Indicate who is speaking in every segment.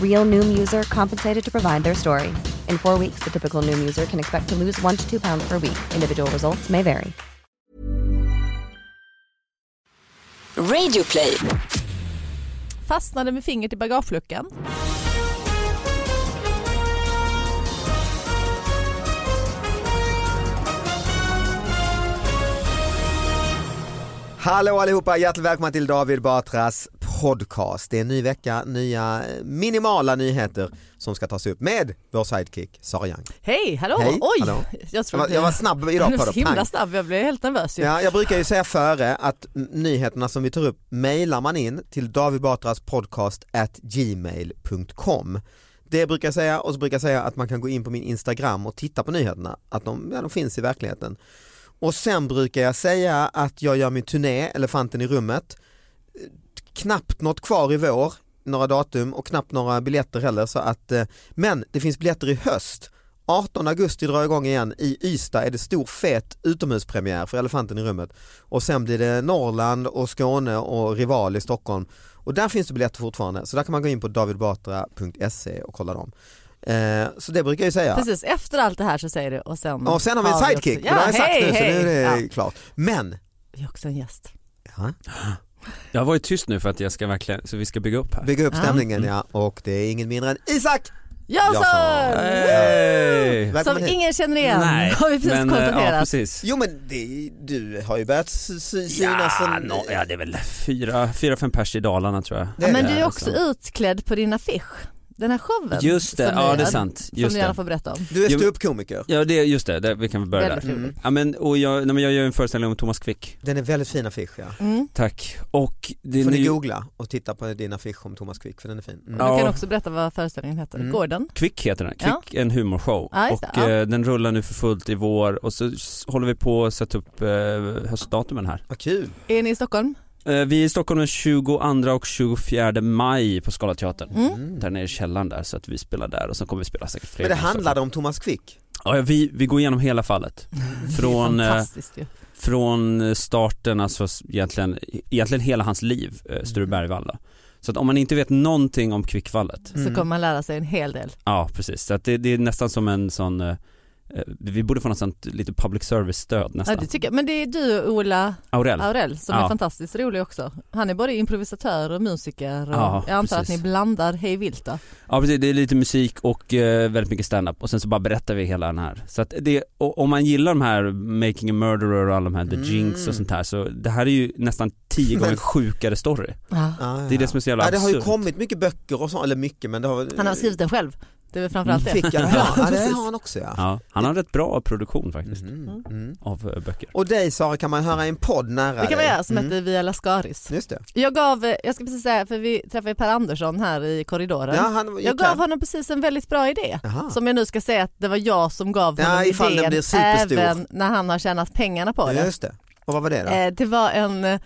Speaker 1: Real Noom user compensated to provide their story. In four weeks, the typical Noom user can expect to lose one to two pounds per week. Individual results may vary.
Speaker 2: Radioplay.
Speaker 3: Fastnade med fingret i bagageluckan.
Speaker 4: Hallå allihopa, hjärtligt välkomna till David Batras podcast. Det är en ny vecka, nya eh, minimala nyheter som ska tas upp med vår sidekick Sara Young.
Speaker 3: Hej, hallå!
Speaker 4: Hej,
Speaker 3: Oj!
Speaker 4: hallå.
Speaker 3: Jag,
Speaker 4: Jag var- jag var snabb idag
Speaker 3: Du var
Speaker 4: på
Speaker 3: så
Speaker 4: det,
Speaker 3: himla
Speaker 4: pang.
Speaker 3: snabb, jag blev helt nervös ju.
Speaker 4: Ja, jag brukar ju säga före att mm, nyheterna som vi tar upp mejlar man in till David Batras podcast at gmail.com. Det brukar jag säga och så brukar jag säga att man kan gå in på min Instagram och titta på nyheterna, att de, ja, de finns i verkligheten. Och sen brukar jag säga att jag gör min turné, Elefanten i rummet, Eh, knappt något kvar i vår, några datum och knappt några biljetter heller. Så att, eh, men det finns biljetter i höst. 18 augusti drar jag igång igen. I Ystad är det stor fet utomhuspremiär för Elefanten i rummet. Och sen blir det Norrland och Skåne och Rival i Stockholm. Och där finns det biljetter fortfarande. Så där kan man gå in på davidbatra.se och kolla dem. Eh, så det brukar jag ju säga.
Speaker 3: Precis, efter allt det här så säger du och sen...
Speaker 4: Och sen har vi en sidekick,
Speaker 3: också-
Speaker 4: det har
Speaker 3: Ja,
Speaker 4: jag sagt
Speaker 3: hej,
Speaker 4: nu så
Speaker 3: hej!
Speaker 4: nu är det
Speaker 3: Ja,
Speaker 4: klart. Men,
Speaker 3: vi har också en gäst.
Speaker 4: ja,
Speaker 5: Jag har varit tyst nu för att jag ska verkligen, så vi ska bygga upp här.
Speaker 4: bygga upp
Speaker 3: Ja. Mm.
Speaker 4: stämningen ja. Och det är ingen mindre än Isak!
Speaker 3: Jönsson!
Speaker 5: Hey!
Speaker 4: Välkommen
Speaker 3: Som
Speaker 4: hit.
Speaker 3: ingen känner igen, har vi precis
Speaker 5: men, eh, Ja,
Speaker 3: konstaterat.
Speaker 5: precis.
Speaker 4: Jo men det, du har ju börjat sy- sy-
Speaker 5: Ja,
Speaker 4: synas en...
Speaker 5: nå- ja, det är väl fyra, fyra fem pers i Dalarna tror jag.
Speaker 4: Det är
Speaker 3: men
Speaker 4: det. liksom.
Speaker 3: du är
Speaker 5: Eh,
Speaker 3: också
Speaker 5: så.
Speaker 3: utklädd på din affisch, den här showen.
Speaker 5: Just det,
Speaker 3: som ni
Speaker 5: ja
Speaker 3: gör,
Speaker 5: det är sant.
Speaker 3: som
Speaker 5: Just
Speaker 3: ni gärna
Speaker 5: det.
Speaker 3: får berätta om.
Speaker 4: Du är
Speaker 5: Jo, men- Mm.
Speaker 4: ståuppkomiker. Mm.
Speaker 5: Ja, det, just det, där, vi kan väl börja
Speaker 3: Väldigt
Speaker 5: där.
Speaker 3: roligt.
Speaker 5: Ja, men, och jag, nej, men jag gör en föreställning om Thomas Quick.
Speaker 4: Den är väldigt fin affisch ja.
Speaker 3: Mm.
Speaker 5: Tack. Och det
Speaker 4: Får ni
Speaker 5: ny-
Speaker 4: googla och titta på din affisch om Thomas Quick för den är fin. Mm.
Speaker 3: Du
Speaker 5: Ja.
Speaker 3: kan också berätta vad föreställningen heter,
Speaker 4: Mm.
Speaker 3: Gordon.
Speaker 5: Quick heter den,
Speaker 3: Ja.
Speaker 5: Quick, en humorshow.
Speaker 3: Ja, just
Speaker 5: och
Speaker 3: det, ja.
Speaker 5: eh, den rullar nu för fullt i vår och så s- håller vi på att sätta upp eh, höstdatumen här.
Speaker 4: Vad kul. Mm.
Speaker 3: Är ni i Stockholm?
Speaker 5: Eh, vi är i Stockholm den 22 och 24 maj på Skala teatern.
Speaker 3: Mm.
Speaker 4: Mm.
Speaker 5: där nere i källaren där så att vi spelar där och sen kommer vi spela säkert fler
Speaker 4: Men det
Speaker 5: gånger.
Speaker 4: handlade om Thomas Quick.
Speaker 5: Ja, vi, vi går igenom hela fallet. Från,
Speaker 3: det är
Speaker 5: eh,
Speaker 3: fantastiskt ju.
Speaker 5: från starten, alltså s- egentligen, egentligen hela hans liv, eh, Sture
Speaker 4: Mm.
Speaker 5: Bergvalla. Så att om man inte vet någonting om Kvickfallet,
Speaker 3: Så kommer man lära sig en hel del.
Speaker 5: ja precis, så att det, det är nästan som en sån, eh, eh, vi borde få något sånt lite public service-stöd
Speaker 3: Ja,
Speaker 5: nästan.
Speaker 3: det tycker jag. Men det är du och Ola
Speaker 5: Aurell.
Speaker 3: Aurell som är
Speaker 5: Ja.
Speaker 3: fantastiskt rolig också. Han är både improvisatör och musiker och
Speaker 5: Ja,
Speaker 3: jag antar
Speaker 5: precis.
Speaker 3: att ni blandar hej vilt då.
Speaker 5: Ja precis, det är lite musik och eh, väldigt mycket stand-up och sen så bara berättar vi hela den här. Så att det, och, om man gillar de här Making a Murderer och alla de här The
Speaker 4: Mm.
Speaker 5: Jinx och sånt här så det här är ju nästan tio gånger
Speaker 4: Men-
Speaker 5: sjukare story.
Speaker 4: Ah,
Speaker 5: Det är det som är så jävla
Speaker 4: ja, det har ju
Speaker 5: absurt.
Speaker 4: kommit mycket böcker och så, eller mycket men det har väl-
Speaker 3: Han har skrivit den själv. Det är väl framförallt det.
Speaker 4: Fick jag, ja, ja, det har han också ja.
Speaker 5: Ja, han har rätt bra produktion faktiskt
Speaker 4: Mhm, mm.
Speaker 5: av eh, böcker.
Speaker 4: Och dig Sara kan man höra i en podd nära
Speaker 3: Det kan man
Speaker 4: dig.
Speaker 3: göra som
Speaker 4: Mm.
Speaker 3: heter Via Lascaris.
Speaker 4: Just det.
Speaker 3: Jag gav, eh, jag ska precis säga, för vi träffade ju Per Andersson här i korridoren.
Speaker 4: Ja, han gick
Speaker 3: jag gav
Speaker 4: här.
Speaker 3: honom precis en väldigt bra idé.
Speaker 4: Jaha.
Speaker 3: Som jag nu ska säga att det var jag som gav
Speaker 4: Ja,
Speaker 3: honom
Speaker 4: ifall den
Speaker 3: idén
Speaker 4: blir superstor.
Speaker 3: även när han har tjänat pengarna på
Speaker 4: Ja,
Speaker 3: det.
Speaker 4: Just det. Och vad var det då?
Speaker 3: Eh, det var en eh,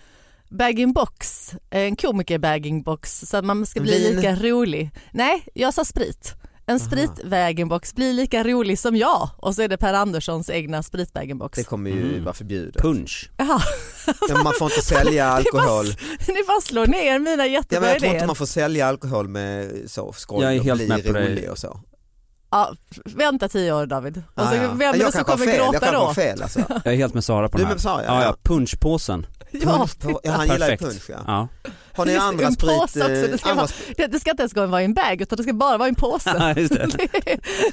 Speaker 3: bag-in-box, en komiker bag-in-box så att man ska bli
Speaker 4: Vin?
Speaker 3: lika rolig. Nej, jag sa sprit. En spritbag-in-box blir lika rolig som jag och så är det Per Anderssons egna spritbag-in-box.
Speaker 4: Det kommer ju
Speaker 5: Mm.
Speaker 4: vara förbjudet.
Speaker 5: Punch.
Speaker 3: Jaha.
Speaker 4: Men man får inte sälja alkohol.
Speaker 3: Ni bara, ni bara slår ner mina
Speaker 4: Ja, men
Speaker 3: jättebra
Speaker 4: jag tror
Speaker 3: idéer.
Speaker 4: inte man får sälja alkohol med så skoj
Speaker 5: Jag är
Speaker 4: och
Speaker 5: helt
Speaker 4: bli
Speaker 5: med på dig.
Speaker 4: rolig och så.
Speaker 3: Ja, vänta tio år David. Och så,
Speaker 4: Ah, ja.
Speaker 3: Alltså, Vem
Speaker 4: jag
Speaker 3: är det som
Speaker 4: kanske har
Speaker 3: kommer
Speaker 4: fel, jag
Speaker 3: gråta
Speaker 4: kanske har
Speaker 3: då?
Speaker 4: fel alltså.
Speaker 5: Jag är helt med Sara på
Speaker 4: Du
Speaker 5: den
Speaker 4: är
Speaker 5: här.
Speaker 4: med Sara,
Speaker 5: ja,
Speaker 4: ja.
Speaker 5: ja. Punschpåsen.
Speaker 3: Ja,
Speaker 4: Punsch på- ja, han gillar ju
Speaker 5: Perfekt.
Speaker 4: punsch ja.
Speaker 5: Ja.
Speaker 4: Har ni
Speaker 3: Just det,
Speaker 4: andra
Speaker 3: en
Speaker 4: sprit,
Speaker 3: påse också, det
Speaker 4: eh,
Speaker 3: ska
Speaker 4: andra
Speaker 3: vara- det, det ska inte ens gå vara i en bag utan det ska bara vara i en påse.
Speaker 5: Ja, just det.
Speaker 4: Liksom.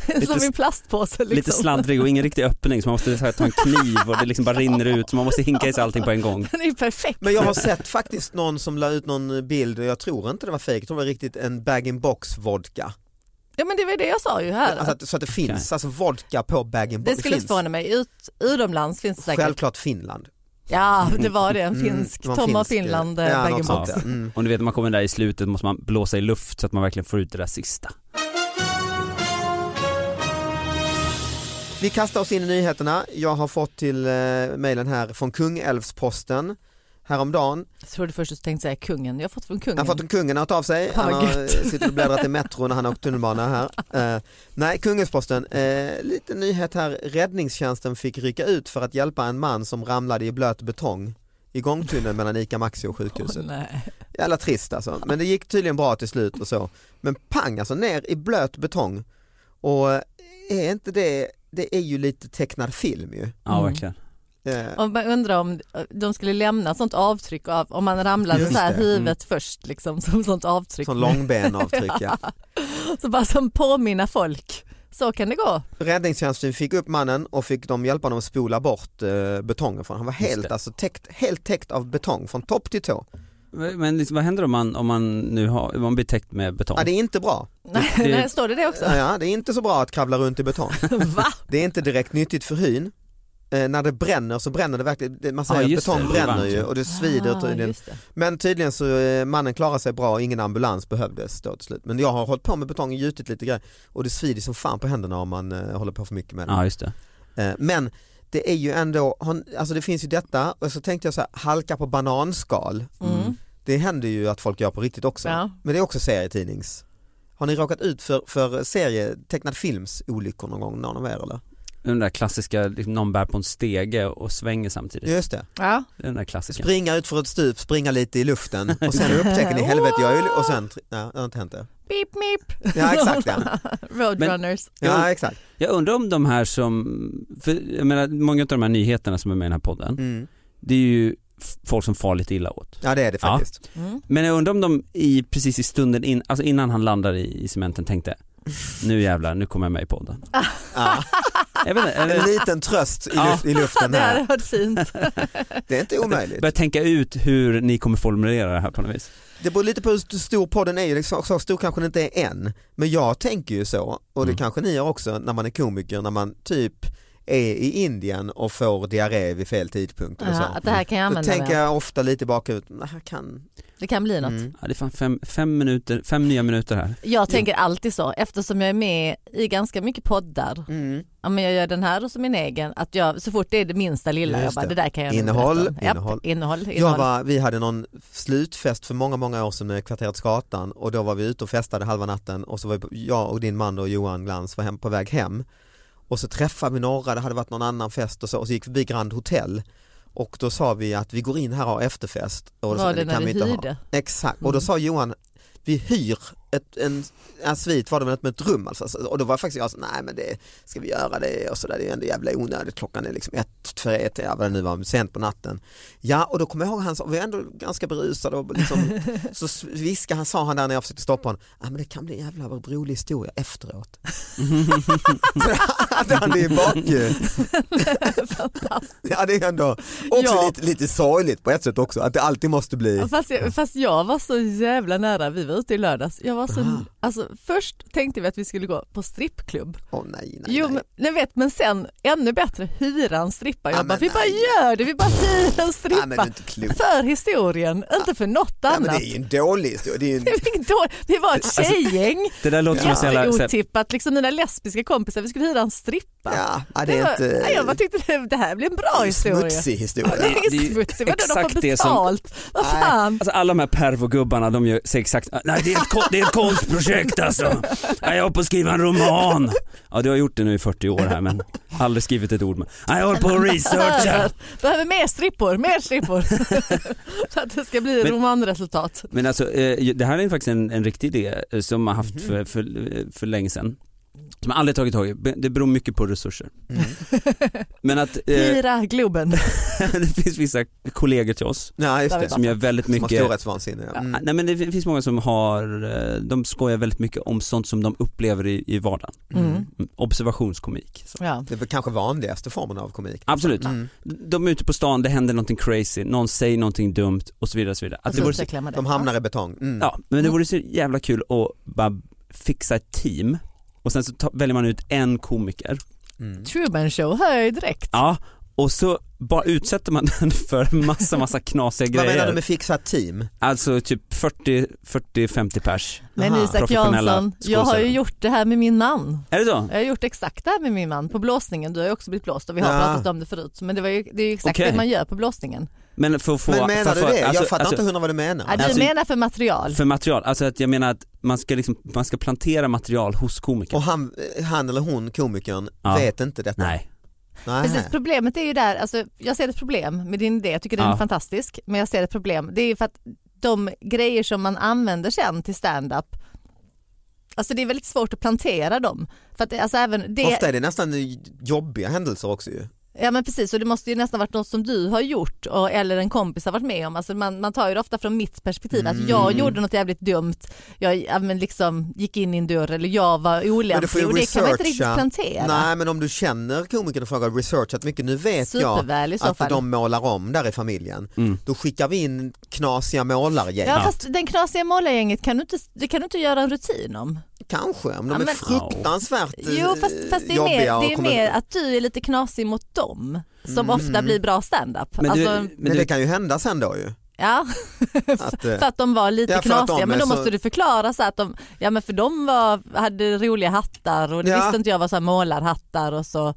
Speaker 3: Det är som
Speaker 5: Lite-
Speaker 3: en plastpåse liksom.
Speaker 5: Lite sladdrig och ingen riktig öppning så man måste så här, ta en kniv och det liksom bara rinner ut så man måste hinka i sig allting på en gång.
Speaker 3: Den är ju perfekt.
Speaker 4: Men jag har sett faktiskt någon som la ut någon bild och jag tror inte det var fejk, jag tror det var riktigt en bag-in-box vodka.
Speaker 3: Ja men det var det jag sa ju här.
Speaker 4: Alltså att, så att det finns alltså vodka på bag-in-box.
Speaker 3: det skulle inte
Speaker 4: finns.
Speaker 3: förvåna mig. Ut, utomlands finns det säkert.
Speaker 4: Självklart Mm. Finland.
Speaker 3: Ja det var det, en finsk.
Speaker 4: det var en
Speaker 3: Tom och
Speaker 4: finsk, eh,
Speaker 3: Finland
Speaker 4: ja,
Speaker 3: ja,
Speaker 4: något
Speaker 3: bag
Speaker 4: sånt,
Speaker 3: box
Speaker 4: ja. Mm.
Speaker 5: Och du vet när man kommer där i slutet måste man blåsa i luft så att man verkligen får ut det där sista.
Speaker 4: Vi kastar oss in i nyheterna. Jag har fått till eh, mejlen här från Kungälvsposten häromdagen.
Speaker 3: Jag trodde först att du tänkte säga kungen. Jag har fått från kungen.
Speaker 4: Han har fått en kungen att ta av sig.
Speaker 3: Fan,
Speaker 4: Han
Speaker 3: vad
Speaker 4: har,
Speaker 3: Mm. gött.
Speaker 4: sitter och bläddrat i Metro när han har åkt tunnelbana här. Eh, nej, Kungälvsposten. Eh, lite nyhet här. Räddningstjänsten fick rycka ut för att hjälpa en man som ramlade i blöt betong i gångtunneln mellan ICA Maxi och sjukhuset.
Speaker 3: Nej.
Speaker 4: Jävla trist alltså. Men det gick tydligen bra till slut och så. Men pang alltså ner i blöt betong. Och eh, är inte det, det är ju lite tecknad film ju.
Speaker 5: Ja
Speaker 3: Mm.
Speaker 5: verkligen.
Speaker 4: Eh,
Speaker 3: Och man undrar om eh, de skulle lämna sånt avtryck av om man ramlade
Speaker 4: Just
Speaker 3: så här
Speaker 4: det.
Speaker 3: huvudet
Speaker 5: Mm.
Speaker 3: först liksom som sånt avtryck.
Speaker 4: Sån långbenavtryck ja.
Speaker 3: Så bara som påminna folk. Så kan det gå.
Speaker 4: Räddningstjänsten fick upp mannen och fick de hjälpa honom att spola bort eh, betongen från Han var
Speaker 5: Just
Speaker 4: helt,
Speaker 5: det.
Speaker 4: alltså, täckt, helt täckt av betong från topp till tå.
Speaker 5: Men liksom, vad händer om man, om man nu har, om man blir täckt med betong?
Speaker 4: Ja, det är inte bra.
Speaker 3: Nej,
Speaker 5: det-
Speaker 3: nej, står det det också?
Speaker 4: Ja, det är inte så bra att kravla runt i betong.
Speaker 3: Va?
Speaker 4: Det är inte direkt nyttigt för hyn. Eh, när det bränner så bränner det verkligen, det- man
Speaker 5: Ja,
Speaker 4: säger att
Speaker 5: just det.
Speaker 4: betong
Speaker 5: Det är
Speaker 4: bränner
Speaker 5: varmt,
Speaker 4: ju
Speaker 5: ja.
Speaker 4: och det svider
Speaker 3: Ah,
Speaker 4: tydligen.
Speaker 3: just det.
Speaker 4: Men tydligen så eh, mannen klarade sig bra och ingen ambulans behövdes då till slut. Men jag har hållit på med betong och gjutit lite grejer och det svider som fan på händerna om man eh, håller på för mycket med det.
Speaker 5: Ja just det.
Speaker 4: Eh, Men det är ju ändå, han- alltså det finns ju detta och så tänkte jag så här, halka på bananskal.
Speaker 3: Mm.
Speaker 4: Det händer ju att folk gör på riktigt också.
Speaker 3: Ja.
Speaker 4: Men det är också serietidnings. Har ni råkat ut för, för serietecknad films olyckor någon gång, någon av er eller?
Speaker 5: Den där klassiska, liksom, någon bär på en stege och svänger samtidigt.
Speaker 4: Just det.
Speaker 3: Ja.
Speaker 5: Det är den där klassiska.
Speaker 4: Springa ut för ett stup, springa lite i luften och sen upptäcker ni helvete jag är ju- och sen, ja det har inte hänt det.
Speaker 3: Beep, meep.
Speaker 4: Ja exakt ja.
Speaker 3: Roadrunners. Mm.
Speaker 4: Ja exakt.
Speaker 5: Jag undrar om de här som, för, jag menar många av de här nyheterna som är med i den här podden,
Speaker 4: Mm.
Speaker 5: det är ju f- folk som far lite illa åt.
Speaker 4: Ja det är det
Speaker 5: Ja.
Speaker 4: faktiskt.
Speaker 3: Mm.
Speaker 5: Men jag undrar om de i, precis i stunden, in, alltså innan han landar i, i cementen tänkte nu jävlar, nu kommer jag med i podden.
Speaker 4: Ja.
Speaker 5: Jag vet inte, eller,
Speaker 4: En liten tröst i,
Speaker 5: Ja.
Speaker 4: luft, i luften
Speaker 3: Det hade
Speaker 4: här.
Speaker 3: varit fint.
Speaker 4: Det är inte omöjligt.
Speaker 5: börja tänka ut hur ni kommer formulera det här på något vis.
Speaker 4: Det beror lite på hur stor podden är, liksom, så stor kanske den inte är än. Men jag tänker ju så, och det
Speaker 5: Mm.
Speaker 4: kanske ni gör också när man är komiker, när man typ är i Indien och får diarré vid fel tidpunkt. Eller
Speaker 3: Ja,
Speaker 4: så.
Speaker 3: att det här kan jag
Speaker 4: Då
Speaker 3: använda
Speaker 4: tänker
Speaker 3: mig av.
Speaker 4: jag ofta lite bakut, det här kan...
Speaker 3: Det kan bli något.
Speaker 4: Mm.
Speaker 5: Ja, det är fan fem, fem, minuter, fem nya minuter här.
Speaker 3: Jag tänker alltid så eftersom jag är med i ganska mycket poddar.
Speaker 4: Mm.
Speaker 3: Ja, men jag gör den här och så min egen. Att jag, så fort det är det minsta lilla,
Speaker 4: Just
Speaker 3: jag bara,
Speaker 4: det.
Speaker 3: det där kan jag nog
Speaker 4: Innehåll,
Speaker 3: berätta om. Japp,
Speaker 4: innehåll.
Speaker 3: innehåll,
Speaker 4: Jag
Speaker 3: innehåll.
Speaker 4: var, vi hade någon slutfest för många, många år sedan med Kvarteret Skatan och då var vi ute och festade halva natten och så var vi- jag och din man då, Johan Glans var hem, på väg hem och så träffade vi några, det hade varit någon annan fest och så, och så gick vi förbi Grand Hotel och då sa vi att vi går in här och har efterfest. Och då sa
Speaker 3: Var
Speaker 4: vi,
Speaker 3: det när
Speaker 4: kan
Speaker 3: vi
Speaker 4: inte ha.
Speaker 3: hyrde? Mm.
Speaker 4: Exakt, och då sa Johan vi hyr ett, en, en svit var det väl inte, men ett rum alltså. Så- Och då var faktiskt jag så, nej men det ska vi göra det och sådär, det är ju ändå jävla onödigt, klockan är liksom ett, tre, ett, ja, vad det nu var, sent på natten. Ja, och då kommer jag ihåg han sa, vi är ändå ganska berusade och liksom, så s- viskade han, sa han där när jag försökte stoppa honom, ja men det kan bli en jävla rolig historia efteråt. Så hade han det i bakhuvudet. Ja det är ändå också
Speaker 3: Ja.
Speaker 4: lite, lite sorgligt på ett sätt också, att det alltid måste bli
Speaker 3: Fast jag, fast jag var så jävla nära, vi var ute i lördags. Jag var så, alltså, först tänkte vi att vi skulle gå på strippklubb.
Speaker 4: Åh nej, nej,
Speaker 3: Jo,
Speaker 4: nej.
Speaker 3: men, nej vet, men sen ännu bättre, hyra en strippa. Jag
Speaker 4: Ja,
Speaker 3: bara,
Speaker 4: men
Speaker 3: vi bara
Speaker 4: nej.
Speaker 3: gör det, vi bara hyr en
Speaker 4: Ja, men du är
Speaker 3: strippa.
Speaker 4: inte klok.
Speaker 3: för historien, inte för något
Speaker 4: Ja, men
Speaker 3: annat.
Speaker 4: det är ju en dålig historia. Det är ju en...
Speaker 3: Vi gick då- Vi var ett tjejgäng,
Speaker 5: Det där låter som en så jävla, så här,
Speaker 3: otippat. Liksom mina lesbiska kompisar, vi skulle hyra en strippa. soppa.
Speaker 4: Ja, ja, det
Speaker 3: var,
Speaker 4: är
Speaker 3: ja, jag bara
Speaker 4: inte
Speaker 3: tyckte det, det här blir en bra historia.
Speaker 4: smutsig
Speaker 3: Ja, det
Speaker 4: historia.
Speaker 5: Det är
Speaker 3: är
Speaker 5: ju
Speaker 3: smutsigt, vadå de
Speaker 5: exakt
Speaker 3: får
Speaker 5: det som-
Speaker 3: betalt? Vad
Speaker 4: Nej.
Speaker 3: fan?
Speaker 5: Alltså alla de här pervogubbarna de gör, säger exakt, nej det är ett, kon- det är ett konstprojekt alltså. Nej, jag håller på att skriva en roman. Ja du har gjort det nu i 40 år här men aldrig skrivit ett ord. Men, nej, jag håller på att researcha.
Speaker 3: Behöver, behöver mer strippor, mer strippor. För att det ska bli
Speaker 5: Men-
Speaker 3: romanresultat.
Speaker 5: Men alltså eh, det här är faktiskt en, en riktig idé eh, som man
Speaker 4: Mhm.
Speaker 5: haft för, för, för länge sedan. Som jag aldrig tagit tag i. Det beror mycket på resurser.
Speaker 4: Mm.
Speaker 5: Men att eh,
Speaker 3: Hyra Globen.
Speaker 5: det finns vissa kollegor till oss
Speaker 4: Ja, just det.
Speaker 5: som gör väldigt
Speaker 4: Som har
Speaker 5: mycket
Speaker 4: storhetsvansinne. ja.
Speaker 5: Ja,
Speaker 4: Mm.
Speaker 5: Nej men det finns många som har, eh, de skojar väldigt mycket om sånt som de upplever i, i vardagen.
Speaker 3: Mm.
Speaker 5: Mm, Observationskomik. Så.
Speaker 3: Ja.
Speaker 4: Det är väl kanske vanligaste formen av komik.
Speaker 5: Absolut.
Speaker 4: Mm.
Speaker 5: De är ute på stan, det händer någonting crazy, någon säger någonting dumt och så vidare. Och så vidare. Att
Speaker 3: Och
Speaker 5: det
Speaker 3: så
Speaker 5: vore så,
Speaker 3: utvecklar man det.
Speaker 4: De hamnar i betong. Alltså, Mm.
Speaker 5: ja, men det
Speaker 3: Mm.
Speaker 5: vore så jävla kul att bara fixa ett team och sen så ta, väljer man ut en komiker.
Speaker 4: Mm.
Speaker 3: Truman Show hör jag ju direkt.
Speaker 5: Ja, och så bara utsätter man den för massa, massa knasiga
Speaker 4: Vad menar
Speaker 5: grejer.
Speaker 4: du med fixat team?
Speaker 5: Alltså typ 40-50 pers.
Speaker 3: Men
Speaker 4: Aha.
Speaker 3: Isak
Speaker 5: Professionella
Speaker 3: Jansson, jag har ju
Speaker 5: skådespelare.
Speaker 3: gjort det här med min man.
Speaker 5: Är det så?
Speaker 3: Jag har gjort exakt det här med min man på blåsningen. Du har ju också blivit blåst och vi har
Speaker 4: Ja.
Speaker 3: pratat om det förut. Men det, var ju, det är ju exakt
Speaker 5: Okej.
Speaker 3: det man gör på blåsningen.
Speaker 5: Men för att få...
Speaker 4: Men
Speaker 5: för
Speaker 4: menar
Speaker 5: att
Speaker 4: du
Speaker 5: få-
Speaker 4: det? Jag
Speaker 5: alltså-
Speaker 4: fattar
Speaker 5: alltså-
Speaker 4: inte hundra vad du menar.
Speaker 3: Ja, du
Speaker 5: Alltså-
Speaker 3: menar för material.
Speaker 5: För material, alltså att jag menar att man ska, liksom, man ska plantera material hos komikern.
Speaker 4: Och han, eh, han eller hon, komikern,
Speaker 5: Ja.
Speaker 4: vet inte detta.
Speaker 5: Nej,
Speaker 4: Nej.
Speaker 3: Precis, problemet är ju där, alltså, jag ser ett problem med din idé, jag tycker den
Speaker 5: Ja.
Speaker 3: är fantastisk, men jag ser ett problem. Det är ju för att de grejer som man använder sen till stand-up, alltså det är väldigt svårt att plantera dem. För att, det- alltså, även det,
Speaker 4: Ofta är det nästan jobbiga händelser också ju.
Speaker 3: Ja men precis och det måste ju nästan varit något som du har gjort och, eller en kompis har varit med om. Alltså man, man tar ju det ofta från mitt perspektiv att jag
Speaker 4: Mm.
Speaker 3: gjorde något jävligt dumt, jag ja, men liksom, gick in i en dörr eller jag var
Speaker 4: Men du får
Speaker 3: olämplig
Speaker 4: ju
Speaker 3: och det kan man inte riktigt
Speaker 4: researcha.
Speaker 3: plantera.
Speaker 4: Nej men om du känner komikern och frågar researchat mycket, nu vet
Speaker 3: Superväl i så
Speaker 4: jag att
Speaker 3: fall.
Speaker 4: de målar om där i familjen.
Speaker 5: Mm.
Speaker 4: Då skickar vi in knasiga målargäng.
Speaker 3: Ja fast den knasiga målargänget kan du inte, det kan du inte göra en rutin om.
Speaker 4: Kanske, om de
Speaker 3: Ja,
Speaker 4: är
Speaker 3: men-
Speaker 4: fruktansvärt eh,
Speaker 3: Jo fast, fast det är, mer,
Speaker 4: jobbiga och
Speaker 3: det är
Speaker 4: kommer- Mm.
Speaker 3: mer att du är lite knasig mot dem som ofta blir bra standup.
Speaker 5: men,
Speaker 3: Alltså,
Speaker 5: du, men
Speaker 4: Men det
Speaker 5: du,
Speaker 4: kan ju hända sen då ju.
Speaker 3: ja.
Speaker 4: Att, eh,
Speaker 3: För att de var lite
Speaker 4: Ja, för att de
Speaker 3: knasiga men då
Speaker 4: är så-
Speaker 3: måste du förklara så att de, ja men för de var, hade roliga hattar och det
Speaker 4: Ja.
Speaker 3: visste inte jag var så här målarhattar och så.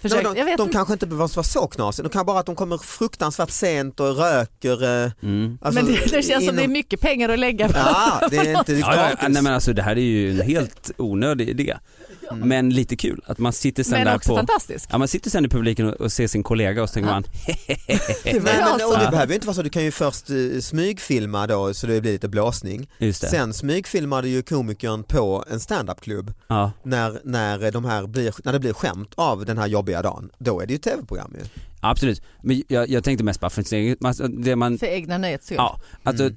Speaker 4: Nej,
Speaker 3: Försök, jag
Speaker 4: men de
Speaker 3: vet
Speaker 4: de
Speaker 3: inte.
Speaker 4: kanske inte behöver vara så knasiga, de kan bara att de kommer fruktansvärt sent och röker. eh,
Speaker 5: Mm.
Speaker 4: alltså,
Speaker 3: men det, det känns som
Speaker 4: inom-
Speaker 3: det är mycket pengar att lägga på.
Speaker 4: Ja, det är inte
Speaker 5: ja, ja,
Speaker 4: gratis.
Speaker 5: ja, nej men alltså det här är ju en helt onödig idé.
Speaker 4: Mm.
Speaker 5: Men lite kul att man sitter sen
Speaker 3: men
Speaker 5: där
Speaker 3: också
Speaker 5: på
Speaker 3: fantastisk.
Speaker 5: Ja man sitter sen i publiken och, och ser sin kollega och så tänker
Speaker 3: Ja.
Speaker 5: man
Speaker 3: Det var
Speaker 4: Eh, Nej,
Speaker 3: jag
Speaker 4: men,
Speaker 3: som-
Speaker 4: och det behöver ju inte vara så, du kan ju först eh, smygfilma då så det blir lite blåsning.
Speaker 5: just det.
Speaker 4: Sen smygfilmade ju komikern på en standupklubb
Speaker 5: Ja.
Speaker 4: när, när, de här blir, när det blir skämt av den här jobbiga dagen. Då är det ju tv-program ju.
Speaker 5: Absolut, men jag, jag tänkte mest bara för sin egen, man- det man,
Speaker 3: för egna nöjets skull.
Speaker 5: ja, alltså,
Speaker 4: Mm.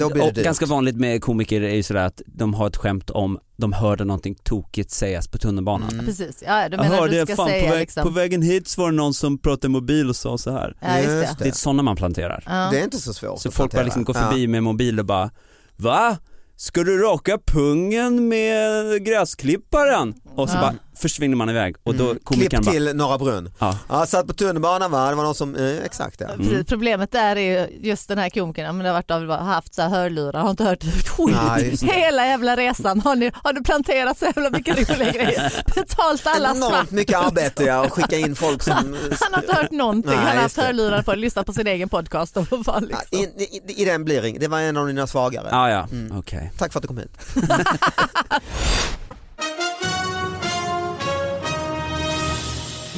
Speaker 4: Då blir det
Speaker 5: och
Speaker 4: dyrt.
Speaker 5: ganska vanligt med komiker är ju sådär att de har ett skämt om de hörde någonting tokigt sägas på tunnelbanan.
Speaker 4: Mm.
Speaker 3: Precis, ja ja, du
Speaker 5: Jag
Speaker 3: menar
Speaker 5: hörde,
Speaker 3: du ska
Speaker 5: fan,
Speaker 3: säga
Speaker 5: på, väg,
Speaker 3: liksom.
Speaker 5: på vägen hit så var det någon som pratade i mobil och sa så här.
Speaker 3: ja just det.
Speaker 4: Just
Speaker 5: Det är sådana man planterar.
Speaker 3: Ja.
Speaker 4: Det är inte så svårt
Speaker 5: Så
Speaker 4: att
Speaker 5: folk bara
Speaker 4: hantera.
Speaker 5: liksom går förbi med mobil och bara Va? Ska du raka pungen med gräsklipparen? Och så
Speaker 3: Ja.
Speaker 5: bara försvinner man iväg och
Speaker 4: Ja.
Speaker 5: då
Speaker 4: Mm.
Speaker 5: komikern
Speaker 4: Klipp
Speaker 5: bara
Speaker 4: till Norra Brunn.
Speaker 5: ja.
Speaker 4: Ja, satt på tunnelbanan va, det var någon som, eh, exakt ja.
Speaker 5: Mm.
Speaker 3: Problemet där är ju just den här komikern, ja, men det har varit av, har haft så här hörlurar, har inte hört ett skit.
Speaker 4: Nej, just det.
Speaker 3: Hela jävla resan har, ni, har du planterat så jävla mycket roliga grejer. Betalt alla svart.
Speaker 4: Enormt mycket arbete ja, och skicka in folk som...
Speaker 3: Han har inte hört någonting,
Speaker 4: Nej,
Speaker 3: han har
Speaker 4: just
Speaker 3: haft
Speaker 4: det.
Speaker 3: hörlurar på och lyssnat på sin egen podcast. Och var
Speaker 4: Ja,
Speaker 3: liksom.
Speaker 4: i, i, I den blir det- det var en av dina svagare.
Speaker 5: Ah, ja,
Speaker 4: Mm.
Speaker 5: okej.
Speaker 4: Tack för att du kom hit.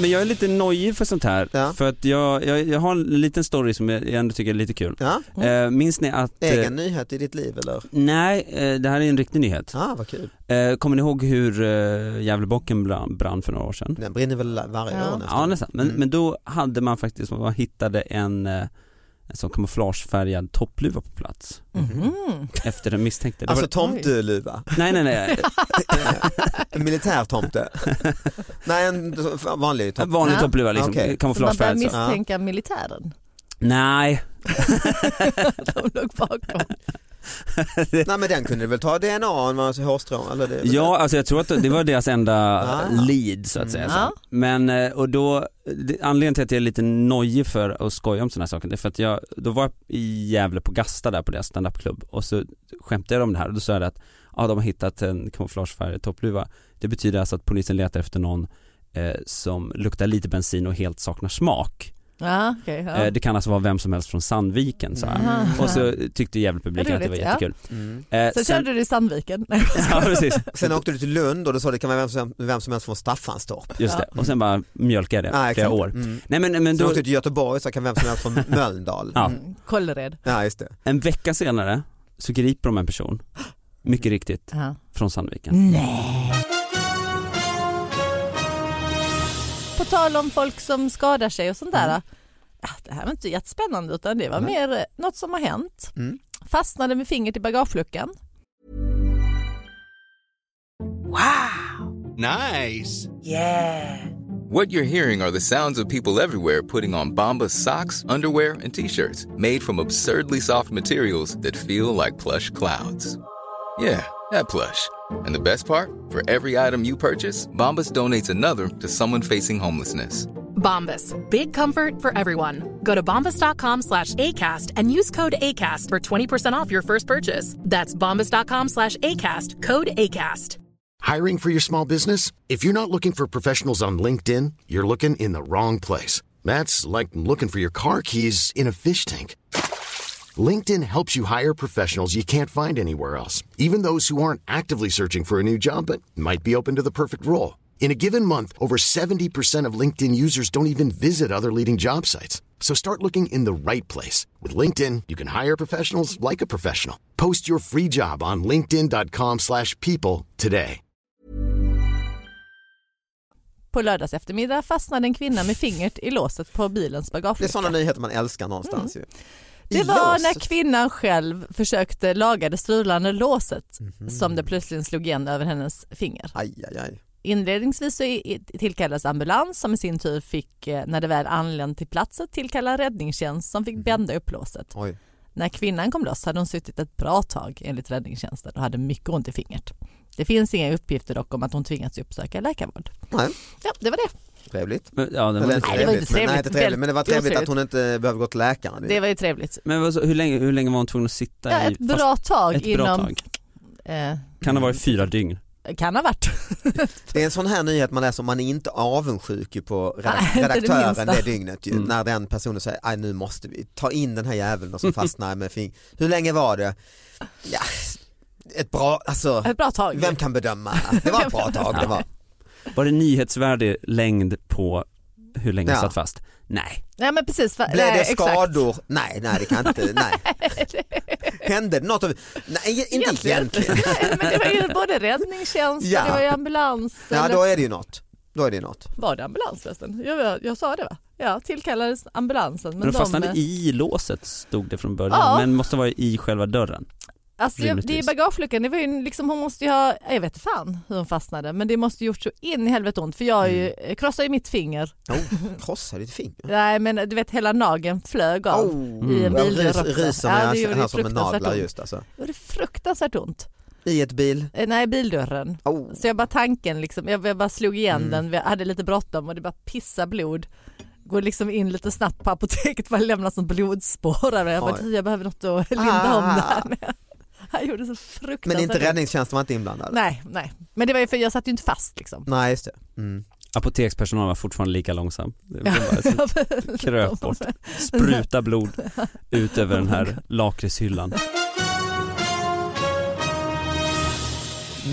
Speaker 5: Men jag är lite nojig för sånt här
Speaker 4: Ja.
Speaker 5: för att jag, jag, jag har en liten story som jag jag ändå tycker är lite kul.
Speaker 4: Ja,
Speaker 5: Eh, minns ni att... eh,
Speaker 4: Mm. egen nyhet i ditt liv eller?
Speaker 5: Nej, eh, det här är en riktig nyhet.
Speaker 4: Ah, vad kul.
Speaker 5: Eh, kommer ni ihåg hur eh, Gävlebocken brann, brann för några år sedan?
Speaker 4: Den brinner väl varje
Speaker 3: Ja.
Speaker 4: år
Speaker 5: Ja nästan, men,
Speaker 4: Mm.
Speaker 5: men då hade man faktiskt, man hittade en, eh, en sån kamouflagefärgad toppluva på plats
Speaker 4: Mm-hmm.
Speaker 3: Mhm.
Speaker 5: efter den misstänkte. Det
Speaker 4: Alltså
Speaker 5: var,
Speaker 4: tomteluva,
Speaker 5: nej nej nej,
Speaker 4: en militärtomte. Nej en vanlig
Speaker 5: en
Speaker 4: tomte.
Speaker 5: vanlig
Speaker 3: Ja.
Speaker 5: toppluva liksom,
Speaker 4: Ah, Okej.
Speaker 5: okay.
Speaker 3: Så man börjar
Speaker 5: kamouflagefärgad. så.
Speaker 3: misstänka militären.
Speaker 5: Nej,
Speaker 3: De låg bakom.
Speaker 4: Nej men den kunde du väl ta DNA, alltså hårstrån eller det?
Speaker 5: ja alltså jag tror att det var deras enda
Speaker 4: Ah.
Speaker 5: lead så att
Speaker 6: Mm.
Speaker 5: säga. Så.
Speaker 3: Ja.
Speaker 5: Men eh, och då, det, anledningen till att jag är lite nojig för att skoja om sådana här saker, det är för att jag, då var jag i Gävle på Gasta där på deras standupklubb och så skämtade jag om det här och då sa jag det att ja, de har hittat en kamouflagefärgad toppluva. Det betyder alltså att polisen letar efter någon eh, som luktar lite bensin och helt saknar smak.
Speaker 6: Ja, okej. ja.
Speaker 5: Eh, det kan alltså vara vem som helst från Sandviken sa jag.
Speaker 6: Aha.
Speaker 5: Och så tyckte Gävlepubliken att det var
Speaker 6: Roligt, ja.
Speaker 5: jättekul.
Speaker 4: Mm.
Speaker 5: Eh,
Speaker 6: så
Speaker 5: sen,
Speaker 6: körde du i Sandviken.
Speaker 5: ja, precis.
Speaker 4: Sen åkte du till Lund och då sa det kan vara vem som, vem som helst från Staffanstorp.
Speaker 5: Just
Speaker 6: Ja.
Speaker 5: det. Och sen bara mjölkade jag
Speaker 4: Ja,
Speaker 5: det flera
Speaker 4: exakt.
Speaker 5: år.
Speaker 4: Mm.
Speaker 5: Nej men, men
Speaker 4: Sen
Speaker 5: då,
Speaker 4: åkte du till Göteborg och sa kan vem som helst från Mölndal.
Speaker 5: Ja.
Speaker 6: Mm, Kållered.
Speaker 4: Ja, just det.
Speaker 5: en vecka senare så griper de en person, mycket riktigt,
Speaker 6: Ja.
Speaker 5: från Sandviken.
Speaker 6: Mm. Nej. På tal om folk som skadar sig och sånt där.
Speaker 4: Mm.
Speaker 6: ja, Det här var inte jättespännande utan det var mer eh, något som har hänt.
Speaker 4: Mm.
Speaker 6: Fastnade med fingret i bagageluckan.
Speaker 7: Nice. Yeah. What you're hearing are the sounds of people everywhere putting on Bombas socks, underwear, and t-shirts made from absurdly soft materials that feel like plush clouds. Yeah, that plush. And the best part? For every item you purchase, Bombas donates another to someone facing homelessness.
Speaker 3: Bombas. Big comfort for everyone. Go to bombas.com slash ACAST and use code ACAST for 20% off your first purchase. That's bombas.com slash ACAST. Code ACAST.
Speaker 8: Hiring for your small business? If you're not looking for professionals on LinkedIn, you're looking in the wrong place. That's like looking for your car keys in a fish tank. LinkedIn helps you hire professionals you can't find anywhere else, even those who aren't actively searching for a new job but might be open to the perfect role. In a given month, over 70% of LinkedIn users don't even visit other leading job sites. So start looking in the right place. With LinkedIn, you can hire professionals like a professional. Post your free job on linkedin.com/people slash people today.
Speaker 6: På lördags eftermiddag fastnade en kvinna med fingret i låset på bilens
Speaker 4: Det är sådana
Speaker 6: bagagelucka.
Speaker 4: nyheter man älskar någonstans ju. I
Speaker 6: Mm. Det var
Speaker 4: lås.
Speaker 6: när kvinnan själv försökte laga det strulande låset som det plötsligt slog igen över hennes finger.
Speaker 4: Aj, aj, aj.
Speaker 6: Inledningsvis så i- i- tillkallades ambulans som i sin tur fick, eh, när det väl anlände till platsen, tillkalla räddningstjänst som fick
Speaker 5: Mm.
Speaker 6: bända upp låset.
Speaker 4: Oj.
Speaker 6: När kvinnan kom loss hade hon suttit ett bra tag enligt räddningstjänsten och hade mycket ont i fingret. Det finns inga uppgifter dock om att hon tvingats uppsöka läkarvård.
Speaker 4: Nej,
Speaker 6: Ja, det var det.
Speaker 4: trevligt.
Speaker 5: Men, ja, det var
Speaker 4: Eller
Speaker 5: lite-
Speaker 4: inte
Speaker 6: Nej, det var
Speaker 4: trevligt,
Speaker 6: inte
Speaker 4: men,
Speaker 6: trevligt.
Speaker 4: nej, inte trevligt. men det var
Speaker 6: Väldigt
Speaker 4: trevligt att hon inte behövde gå till läkaren.
Speaker 6: Det var ju trevligt.
Speaker 5: men vad så- hur, länge, hur länge var hon tvungen att sitta
Speaker 6: Ja,
Speaker 5: i?
Speaker 6: ett bra
Speaker 5: fast-
Speaker 6: tag
Speaker 5: ett bra
Speaker 6: inom...
Speaker 5: tag.
Speaker 6: Eh,
Speaker 5: Kan ha varit fyra dygn.
Speaker 6: kan ha varit.
Speaker 4: Det är en sån här nyhet man läser, man är inte avundsjuk ju på
Speaker 6: Nej,
Speaker 4: redak-
Speaker 6: inte det
Speaker 4: redaktören det,
Speaker 6: minsta.
Speaker 4: dygnet ju,
Speaker 5: Mm.
Speaker 4: när den personen säger "Aj, nu måste vi ta in den här jäveln och som fastnar med fing. Hur länge var det? Ja, ett bra, alltså
Speaker 6: Ett bra tag.
Speaker 4: vem kan bedöma? Det var ett bra tag det var.
Speaker 5: Var det nyhetsvärdig längd på hur länge
Speaker 4: Ja.
Speaker 5: jag satt fast? Nej.
Speaker 6: Nej men precis. Blev
Speaker 4: Blev
Speaker 6: nej,
Speaker 4: det
Speaker 6: exakt.
Speaker 4: skador? Nej, nej det kan inte, nej. Hände det något? Av, nej, inte egentligen.
Speaker 6: Nej, men det var ju både räddningstjänst,
Speaker 4: Ja.
Speaker 6: det var ju ambulans.
Speaker 4: Ja,
Speaker 6: eller-
Speaker 4: då är det ju något. Då är det ju något.
Speaker 6: Var det ambulans förresten? Jag, jag, jag sa det va? Ja, tillkallades ambulansen. Men
Speaker 5: Men de fastnade
Speaker 6: eh,
Speaker 5: i låset stod det från början,
Speaker 6: Ja.
Speaker 5: men måste vara i själva dörren.
Speaker 6: alltså, jag, det är
Speaker 5: rimligtvis.
Speaker 6: bagageluckan, det var ju liksom, hon måste ju ha, jag vet fan hur hon fastnade, men det måste gjort så in i helvete ont för jag är ju,
Speaker 4: Mm.
Speaker 6: eh, krossade ju mitt finger.
Speaker 4: Oh, krossade ditt finger.
Speaker 6: Nej men du vet hela nageln flög av.
Speaker 4: Oh.
Speaker 6: I en
Speaker 4: Jag
Speaker 6: bil
Speaker 4: rys-
Speaker 6: där också.
Speaker 4: ryser
Speaker 6: Ja,
Speaker 4: när
Speaker 6: det
Speaker 4: jag
Speaker 6: gjorde
Speaker 4: här
Speaker 6: ju
Speaker 4: som en
Speaker 6: fruktansvärt
Speaker 4: naglar
Speaker 6: ont.
Speaker 4: just alltså.
Speaker 6: Det gjorde fruktansvärt ont.
Speaker 4: I ett bil.
Speaker 6: Eh, Nej, bildörren.
Speaker 4: Oh.
Speaker 6: Så jag bara tanken, liksom, jag, jag bara slog igen
Speaker 4: Mm.
Speaker 6: den, jag hade lite bråttom och det bara pissa blod. Går liksom in lite snabbt på apoteket, bara lämnar som blodspår där och jag bara,
Speaker 4: Oj.
Speaker 6: "Du, jag behöver något att linda om det här
Speaker 4: Ah.
Speaker 6: med." Han gjorde så fruktansvärt
Speaker 4: Men inte
Speaker 6: ont.
Speaker 4: räddningstjänsten var inte inblandad?
Speaker 6: Nej, nej. Men det var ju för jag satt ju inte fast liksom.
Speaker 4: Nej just det. Mm.
Speaker 5: Apotekspersonalen var fortfarande lika långsam. Det var bara kröp bort, spruta blod ut över den här lakritshyllan.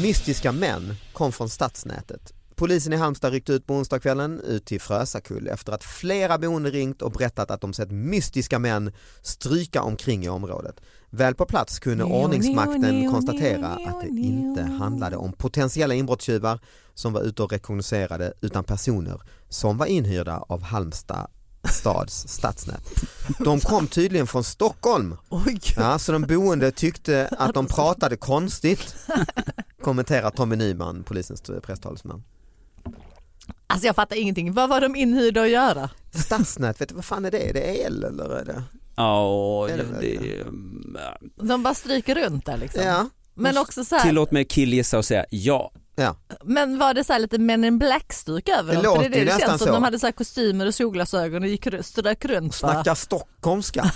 Speaker 4: Mystiska män kom från stadsnätet. Polisen i Halmstad ryckte ut på onsdagskvällen ut till Frösakull efter att flera boende ringt och berättat att de sett mystiska män stryka omkring i området. Väl på plats kunde
Speaker 6: Neo, neo,
Speaker 4: ordningsmakten
Speaker 6: neo,
Speaker 4: konstatera
Speaker 6: neo,
Speaker 4: att det
Speaker 6: neo.
Speaker 4: inte handlade om potentiella inbrottstjuvar som var ute och rekognoserade utan personer som var inhyrda av Halmstad stads stadsnät. De kom tydligen från Stockholm
Speaker 6: Oj,
Speaker 4: Ja, så de boende tyckte att de pratade konstigt, kommenterar Tommy Nyman, polisens presstalesman.
Speaker 6: alltså jag fattar ingenting. Vad var de inhyrda att göra?
Speaker 4: Stadsnät, vet du vad fan är det? Är det el eller? Är det?
Speaker 5: Ja, och
Speaker 4: Är det
Speaker 5: det,
Speaker 6: De bara stryker runt där liksom.
Speaker 4: Ja,
Speaker 6: Men också så här,
Speaker 5: tillåt mig killgissa och säga ja,
Speaker 4: Ja.
Speaker 6: Men var det så här lite Men in Black-stuk över
Speaker 4: Det
Speaker 6: dem? För
Speaker 4: låter
Speaker 6: det,
Speaker 4: ju
Speaker 6: det känns
Speaker 4: nästan
Speaker 6: som
Speaker 4: så.
Speaker 6: de hade så här kostymer och solglasögon och gick, ru- strök runt. va?
Speaker 4: Snacka stockholmska.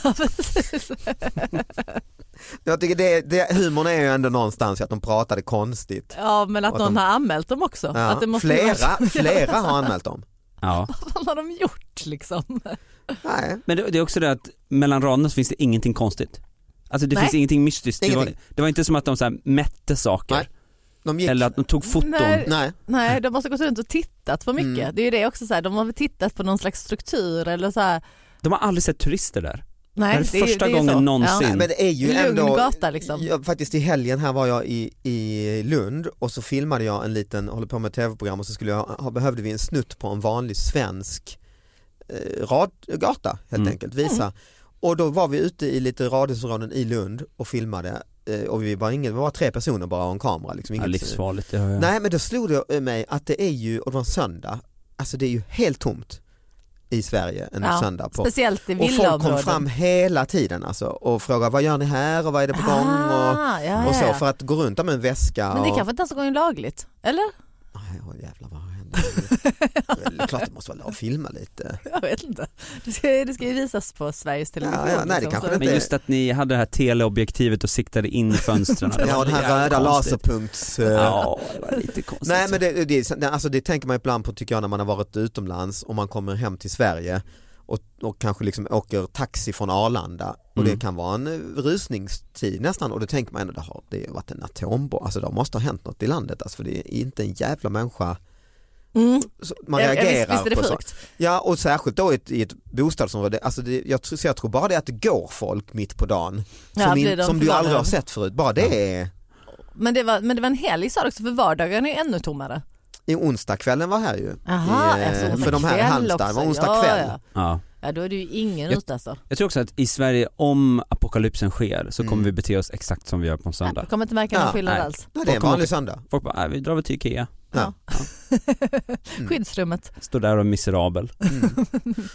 Speaker 4: Jag tycker det, det, humorn är ju ändå någonstans att de pratade konstigt.
Speaker 6: Ja men att
Speaker 4: Och att
Speaker 6: någon
Speaker 4: de-
Speaker 6: har anmält dem också.
Speaker 4: Ja,
Speaker 6: Att det måste ju
Speaker 4: flera,
Speaker 6: vara-
Speaker 4: flera har anmält dem.
Speaker 5: Ja.
Speaker 6: Vad har de gjort liksom?
Speaker 4: Nej.
Speaker 5: Men det, det är också det att mellan raderna så finns det ingenting konstigt. Alltså det
Speaker 6: Nej.
Speaker 5: finns ingenting mystiskt. Det var,
Speaker 4: Ingenting.
Speaker 5: det var inte som att de så här mätte saker
Speaker 4: Nej. De gick.
Speaker 5: eller att de tog foton.
Speaker 6: Nej.
Speaker 4: Nej.
Speaker 6: Nej de måste gått runt och tittat på mycket.
Speaker 4: Mm.
Speaker 6: Det är ju det också så här, de har väl tittat på någon slags struktur eller så här.
Speaker 5: De har aldrig sett turister där.
Speaker 6: Nej,
Speaker 5: det är
Speaker 6: ju-
Speaker 5: första
Speaker 6: ju
Speaker 5: gången
Speaker 6: så.
Speaker 5: någonsin.
Speaker 4: Nej, men det är ju
Speaker 6: Lugn
Speaker 4: ändå,
Speaker 6: gata, liksom.
Speaker 4: jag, faktiskt i helgen här var jag i, i Lund och så filmade jag en liten, håller på med ett tv-program och så skulle jag, ha, behövde vi en snutt på en vanlig svensk eh, rad, gata helt
Speaker 5: Mm.
Speaker 4: enkelt, visa. Och då var vi ute i lite radhusområden i Lund och filmade eh, och vi var, ingen, vi var tre personer bara och en kamera. Liksom,
Speaker 5: Ja,
Speaker 4: inget,
Speaker 5: livsfarligt, det har jag.
Speaker 4: Nej men då slog det mig att det är ju, och det var en söndag, alltså det är ju helt tomt i Sverige en
Speaker 6: Ja,
Speaker 4: söndag på
Speaker 6: Speciellt i
Speaker 4: och folk kom
Speaker 6: villaområden.
Speaker 4: fram hela tiden alltså, och frågade vad gör ni här och vad är det på gång och,
Speaker 6: Ah, ja,
Speaker 4: och
Speaker 6: ja,
Speaker 4: så
Speaker 6: ja.
Speaker 4: för att gå runt med en väska.
Speaker 6: Men det
Speaker 4: och,
Speaker 6: kanske inte ens en gång är lagligt? Eller?
Speaker 4: Nej, åh, jävlar vad händer? det är klart det måste vara lov att filma lite.
Speaker 6: Jag vet inte. Det ska, det ska ju visas på Sveriges Television.
Speaker 4: Ja, ja, nej, det
Speaker 6: liksom,
Speaker 4: kanske
Speaker 6: så-
Speaker 4: det
Speaker 5: Men just att ni hade det här teleobjektivet och siktade in i fönstren. det
Speaker 4: Ja,
Speaker 5: var
Speaker 4: och den
Speaker 5: lite
Speaker 4: här röda
Speaker 5: konstigt.
Speaker 4: laserpunkts... eh,
Speaker 5: Ja, det var lite konstigt.
Speaker 4: Nej men det, det, det, alltså det tänker man ibland på tycker jag när man har varit utomlands och man kommer hem till Sverige och, och kanske liksom åker taxi från Arlanda och
Speaker 5: Mm.
Speaker 4: det kan vara en eh, rusningstid nästan och då tänker man ändå det har, det har varit en atombomb, alltså det måste ha hänt något i landet alltså för det är inte en jävla människa
Speaker 6: Mm.
Speaker 4: så man
Speaker 6: Ja, ja,
Speaker 4: reagerar
Speaker 6: visst, visst är det
Speaker 4: på så.
Speaker 6: sjukt.
Speaker 4: Ja och särskilt då i ett, i ett bostadsområde, alltså det, jag, tror, så jag tror bara det att det går folk mitt på dagen
Speaker 6: Ja,
Speaker 4: som, in-
Speaker 6: blir de
Speaker 4: som du aldrig
Speaker 6: förbannade?
Speaker 4: har sett förut, bara det är
Speaker 6: Men, det var, men det var en helg sa du också för vardagen är ju ännu tommare.
Speaker 4: i onsdagskvällen var här ju.
Speaker 6: Aha,
Speaker 4: I, eh,
Speaker 6: alltså onsdag
Speaker 4: för de här i
Speaker 6: kväll
Speaker 4: Halmstad, det
Speaker 6: också.
Speaker 4: var onsdag
Speaker 6: Ja,
Speaker 4: kväll.
Speaker 6: Ja,
Speaker 5: Ja.
Speaker 6: ja då är det ju ingen
Speaker 5: Jag-
Speaker 6: ute alltså.
Speaker 5: Jag tror också att i Sverige, om apokalypsen sker så kommer
Speaker 4: Mm.
Speaker 5: vi bete oss exakt som vi gör på en
Speaker 6: Nej,
Speaker 5: söndag.
Speaker 6: Jag kommer inte märka någon
Speaker 4: Ja,
Speaker 6: skillnad
Speaker 5: nej.
Speaker 6: alls.
Speaker 4: Nej, det är en
Speaker 5: Folk
Speaker 4: vanlig söndag.
Speaker 5: Folk bara, "Nej, vi drar väl till Ikea,
Speaker 4: Ja. Mm.
Speaker 6: Skyddsrummet.
Speaker 5: står där och är miserabel.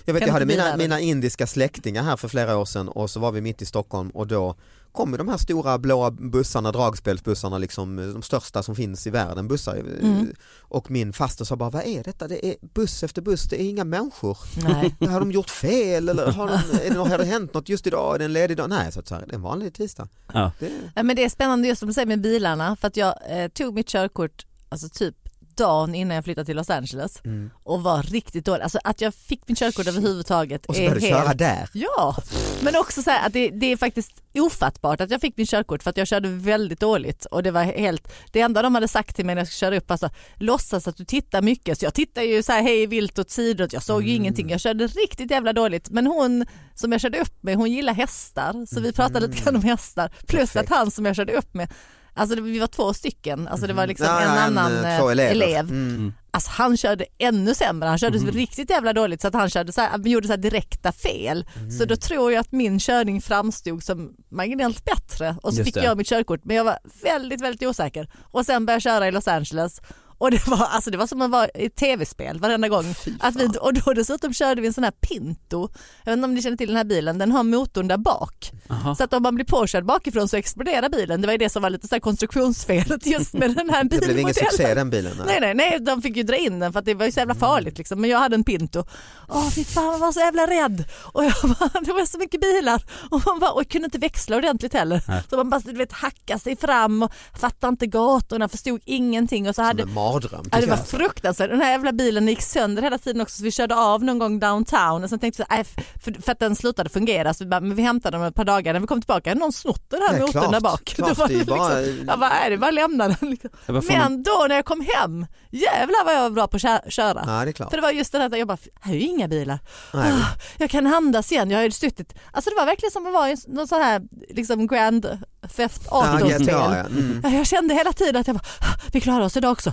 Speaker 4: Jag vet, jag hade
Speaker 6: inte bli
Speaker 4: mina,
Speaker 6: värre.
Speaker 4: mina indiska släktingar här för flera år sedan och så var vi mitt i Stockholm och då kom ju de här stora blåa bussarna, dragspelsbussarna, liksom, eh, de största som finns i världen, bussar. eh,
Speaker 6: Mm.
Speaker 4: Och min faster sa bara, vad är detta? Det är buss efter buss, det är inga människor.
Speaker 6: Nej.
Speaker 4: Har de gjort fel eller har, de, är det, har det hänt något just idag? Är det en ledig dag? Nej, så att så här, det är en vanlig tisdag.
Speaker 5: Ja.
Speaker 4: Det,
Speaker 6: Ja, men det är spännande just som du säger med bilarna för att jag eh, tog mitt körkort alltså typ dagen innan jag flyttade till Los Angeles
Speaker 4: Mm.
Speaker 6: och var riktigt dålig. Alltså att jag fick mitt körkort överhuvudtaget
Speaker 4: och så
Speaker 6: är
Speaker 4: började du köra
Speaker 6: helt-
Speaker 4: där.
Speaker 6: Ja, men också så här att det, det är faktiskt ofattbart att jag fick min körkort för att jag körde väldigt dåligt och det var helt, det enda de hade sagt till mig när jag skulle köra upp, alltså låtsas att du tittar mycket, så jag tittar ju så här hej vilt åt sidor, jag såg ju
Speaker 4: Mm.
Speaker 6: ingenting, jag körde riktigt jävla dåligt, men hon som jag körde upp med, hon gillar hästar, så vi pratade lite grann om hästar, plus
Speaker 4: Mm. Perfekt.
Speaker 6: att han som jag körde upp med, alltså det, vi var två stycken, alltså det var liksom
Speaker 4: Mm-hmm. Ja,
Speaker 6: en
Speaker 4: ja,
Speaker 6: annan
Speaker 4: eh,
Speaker 6: eh,
Speaker 4: två elever.
Speaker 6: elev
Speaker 4: Mm.
Speaker 6: Alltså han körde ännu sämre, han
Speaker 4: Mhm.
Speaker 6: körde riktigt jävla dåligt så att han körde så här, han gjorde så här direkta fel.
Speaker 4: Mhm.
Speaker 6: Så då tror jag att min körning framstod som marginellt bättre och så
Speaker 5: Just
Speaker 6: fick
Speaker 5: det.
Speaker 6: jag mitt körkort men jag var väldigt väldigt osäker. Och sen började jag köra i Los Angeles och det var, alltså det var som att vara i ett tv-spel varenda gång. Att vi, och då dessutom körde vi en sån här Pinto, jag vet inte om ni känner till den här bilen, den har motorn där bak. Så att om man blir påkörd bakifrån så exploderar bilen, det var ju det som var lite så här konstruktionsfelet just med den här
Speaker 4: Det
Speaker 6: bilmodellen.
Speaker 4: blev ingen succé den bilen. nej.
Speaker 6: Nej, nej, nej, de fick ju dra in den för att det var ju så
Speaker 4: Mm.
Speaker 6: jävla farligt liksom. Men jag hade en Pinto. Åh, fy fan, jag var så jävla rädd. Och jag bara, det var så mycket bilar. Och man bara, och jag kunde inte växla ordentligt heller. Så man bara, du vet, hacka sig fram och fattade inte gatorna, förstod ingenting. Och så
Speaker 4: Som
Speaker 6: hade,
Speaker 4: en mardröm.
Speaker 6: Ja, det
Speaker 4: tycker
Speaker 6: var
Speaker 4: jag.
Speaker 6: fruktansvärt. Den här jävla bilen gick sönder hela tiden också så vi körde av någon gång downtown och sen tänkte vi så här, "Äh, f- för, för att den slutade fungera så vi, bara, men vi hämtade den om ett par dagar när vi kom tillbaka hade någon snott den här
Speaker 4: Nej,
Speaker 6: motorn
Speaker 4: klart.
Speaker 6: där bak.
Speaker 4: Klart,
Speaker 6: Då var
Speaker 4: det är ju bara-
Speaker 6: liksom, jag bara, är det är bara att lämna den. Liksom.
Speaker 5: Jag bara får
Speaker 6: Men då när jag kom hem, jävlar vad jag var bra på att kö- köra.
Speaker 4: Ja, det är klart.
Speaker 6: För det var just det där, jag bara, här är ju inga bilar.
Speaker 4: Nej.
Speaker 6: Ah, jag kan andas igen, jag har ju suttit. Alltså det var verkligen som att vara i någon sån här liksom Grand Theft
Speaker 4: Ja,
Speaker 6: Auto-spel.
Speaker 4: GTA, ja. Mm.
Speaker 6: Ja, Jag kände hela tiden att jag bara, "Ah, vi klarar oss idag också.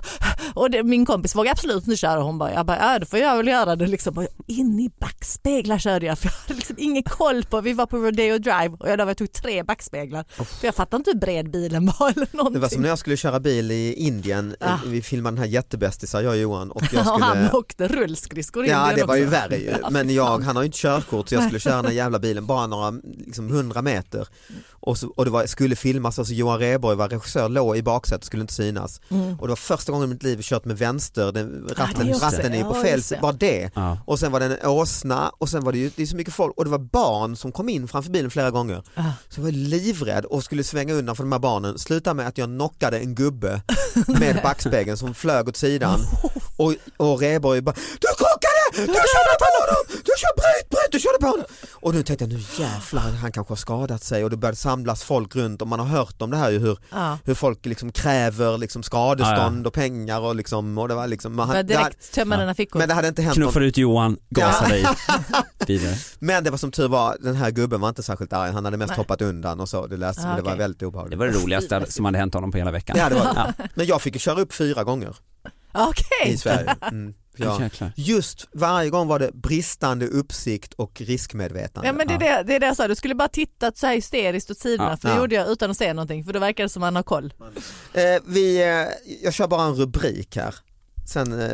Speaker 6: Och det, min kompis vågade absolut inte köra. Hon bara, jag bara, ja då får jag väl göra det liksom. Och jag, in i backspeglar körde jag för jag hade liksom ingen koll på, vi var på Rodeo Drive och jag, jag tog tre backspeglar. För jag fattade inte hur bred bilen var eller någonting.
Speaker 4: Det var som när jag skulle köra bil i Indien, eh,
Speaker 6: Ah.
Speaker 4: vi filmade den här jättebästisar, jag och Johan och jag
Speaker 6: Och han
Speaker 4: skulle
Speaker 6: åkte rullskridskor in i
Speaker 4: Ja
Speaker 6: den
Speaker 4: det var ju
Speaker 6: också.
Speaker 4: värre ju, men jag, han har ju inte körkort så jag skulle köra den här jävla bilen bara några, liksom hundra meter och, så, och det var, skulle filmas, alltså Johan Rheborg var regissör, låg i baksätet skulle inte synas.
Speaker 6: Mm.
Speaker 4: Och det var första gången i mitt liv jag kört med vänster,
Speaker 6: Ah,
Speaker 4: den, ratten,
Speaker 5: just det.
Speaker 4: ratten är ju på
Speaker 6: Ja,
Speaker 4: fel
Speaker 6: just
Speaker 4: sida,
Speaker 6: det.
Speaker 4: bara det.
Speaker 5: Ja.
Speaker 4: Och sen var det en åsna och sen var det ju det är så mycket folk och det var barn som kom in framför bilen flera gånger. Så jag var livrädd och skulle svänga undan för de här barnen. Sluta med att jag knockade en gubbe med backspegeln som flög åt sidan och, och Rheborg bara Du krockade! Du körde på honom! Du kör bryt, bryt! Du körde på honom! Och nu tänkte jag nu jävlar han kanske har skadat sig och det började samlas folk runt och man har hört om det här ju hur,
Speaker 3: Ja.
Speaker 4: hur folk liksom kräver liksom skadestånd och pengar och liksom och det var liksom och han-
Speaker 3: Börja
Speaker 4: det här-
Speaker 3: direkt tömma dina fickor.
Speaker 4: men det hade inte hänt om-
Speaker 5: Knuffar ut Johan, gasar
Speaker 4: Ja.
Speaker 5: dig vidare.
Speaker 4: men det var som tur var, den här gubben var inte särskilt arg, han hade mest
Speaker 3: Nej.
Speaker 4: hoppat undan och så, det läste men
Speaker 3: Ah,
Speaker 4: det var
Speaker 3: okej.
Speaker 4: väldigt obehagligt.
Speaker 5: Det var det roligaste som hade hänt honom på hela veckan.
Speaker 4: Ja, det var det. Men jag fick ju köra upp fyra gånger
Speaker 3: Okej,
Speaker 4: i Sverige. Mm, för jag,
Speaker 5: Jäklar.
Speaker 4: just varje gång var det bristande uppsikt och riskmedvetande.
Speaker 3: ja, men det, är det, det är det jag sa, du skulle bara tittat så här hysteriskt åt sidorna
Speaker 5: Ja.
Speaker 3: för det
Speaker 4: Ja.
Speaker 3: gjorde jag utan att säga någonting för det verkade som att man har koll.
Speaker 4: Eh, vi, eh, jag kör bara en rubrik här sen, eh,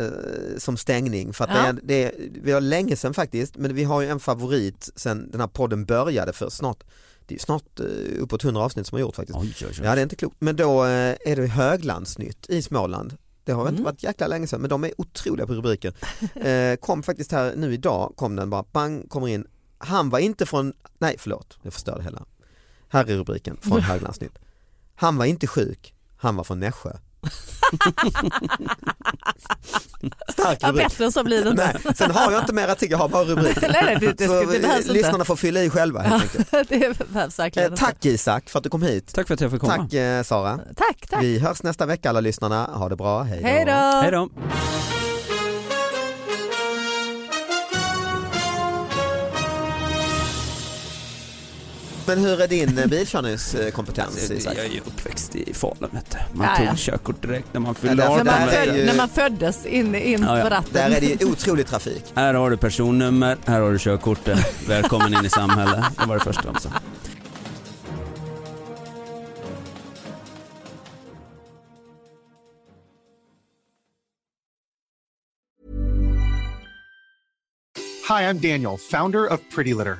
Speaker 4: som stängning. För att det,
Speaker 3: Ja.
Speaker 4: är, det, är, vi har länge sedan faktiskt, men vi har ju en favorit sen den här podden började för snart, det är snart eh, uppåt 100 avsnitt som har gjort faktiskt.
Speaker 5: Oj, oj,
Speaker 4: Ja
Speaker 5: oj.
Speaker 4: det är inte klokt. Men då eh, är det Höglandsnytt i Småland. Det har
Speaker 3: Mm.
Speaker 4: inte varit jäkla länge sedan men de är otroliga på rubriker. Eh, kom faktiskt här nu idag, kom den bara, bang, kommer in. Han var inte från, nej förlåt, jag förstörde hela. Här är rubriken från Höglandsnytt. Han var inte sjuk, han var från Nässjö. Stark
Speaker 3: Ja,
Speaker 4: rubrik.
Speaker 3: bättre än så blir det inte.
Speaker 4: Nej, sen har jag inte mer artikel, jag har bara rubriker.
Speaker 3: Nej, nej, det, det,
Speaker 4: Så
Speaker 3: skulle- det behövs
Speaker 4: eh, lyssnarna får fylla i själva helt enkelt.
Speaker 3: inte. Det behövs verkligen
Speaker 4: Eh,
Speaker 3: inte.
Speaker 4: tack Isak för att du kom hit.
Speaker 5: Tack för att jag fick komma.
Speaker 4: Tack eh, Sara.
Speaker 3: Tack, tack.
Speaker 4: Vi hörs nästa vecka alla lyssnarna. Ha det bra, hej då.
Speaker 3: Hej då.
Speaker 5: Hej då.
Speaker 4: Men hur är din eh, bilkörningskompetens
Speaker 5: Alltså,
Speaker 4: Isak?
Speaker 5: jag är ju uppväxt i Falun vet du. Man
Speaker 3: Ja,
Speaker 5: tog
Speaker 3: ja.
Speaker 5: körkort direkt när man
Speaker 4: Men
Speaker 5: fyllde
Speaker 4: därför-
Speaker 3: När
Speaker 5: 18.
Speaker 4: där
Speaker 3: man,
Speaker 4: är
Speaker 3: föd,
Speaker 4: ju-
Speaker 3: när man föddes in, in
Speaker 5: Ja, ja.
Speaker 3: på ratten.
Speaker 4: Där är det ju otrolig trafik.
Speaker 5: Här har du personnummer, här har du körkortet. Välkommen in i samhället. Det var det första de sa.
Speaker 9: Hi, I'm Daniel, founder of Pretty Litter.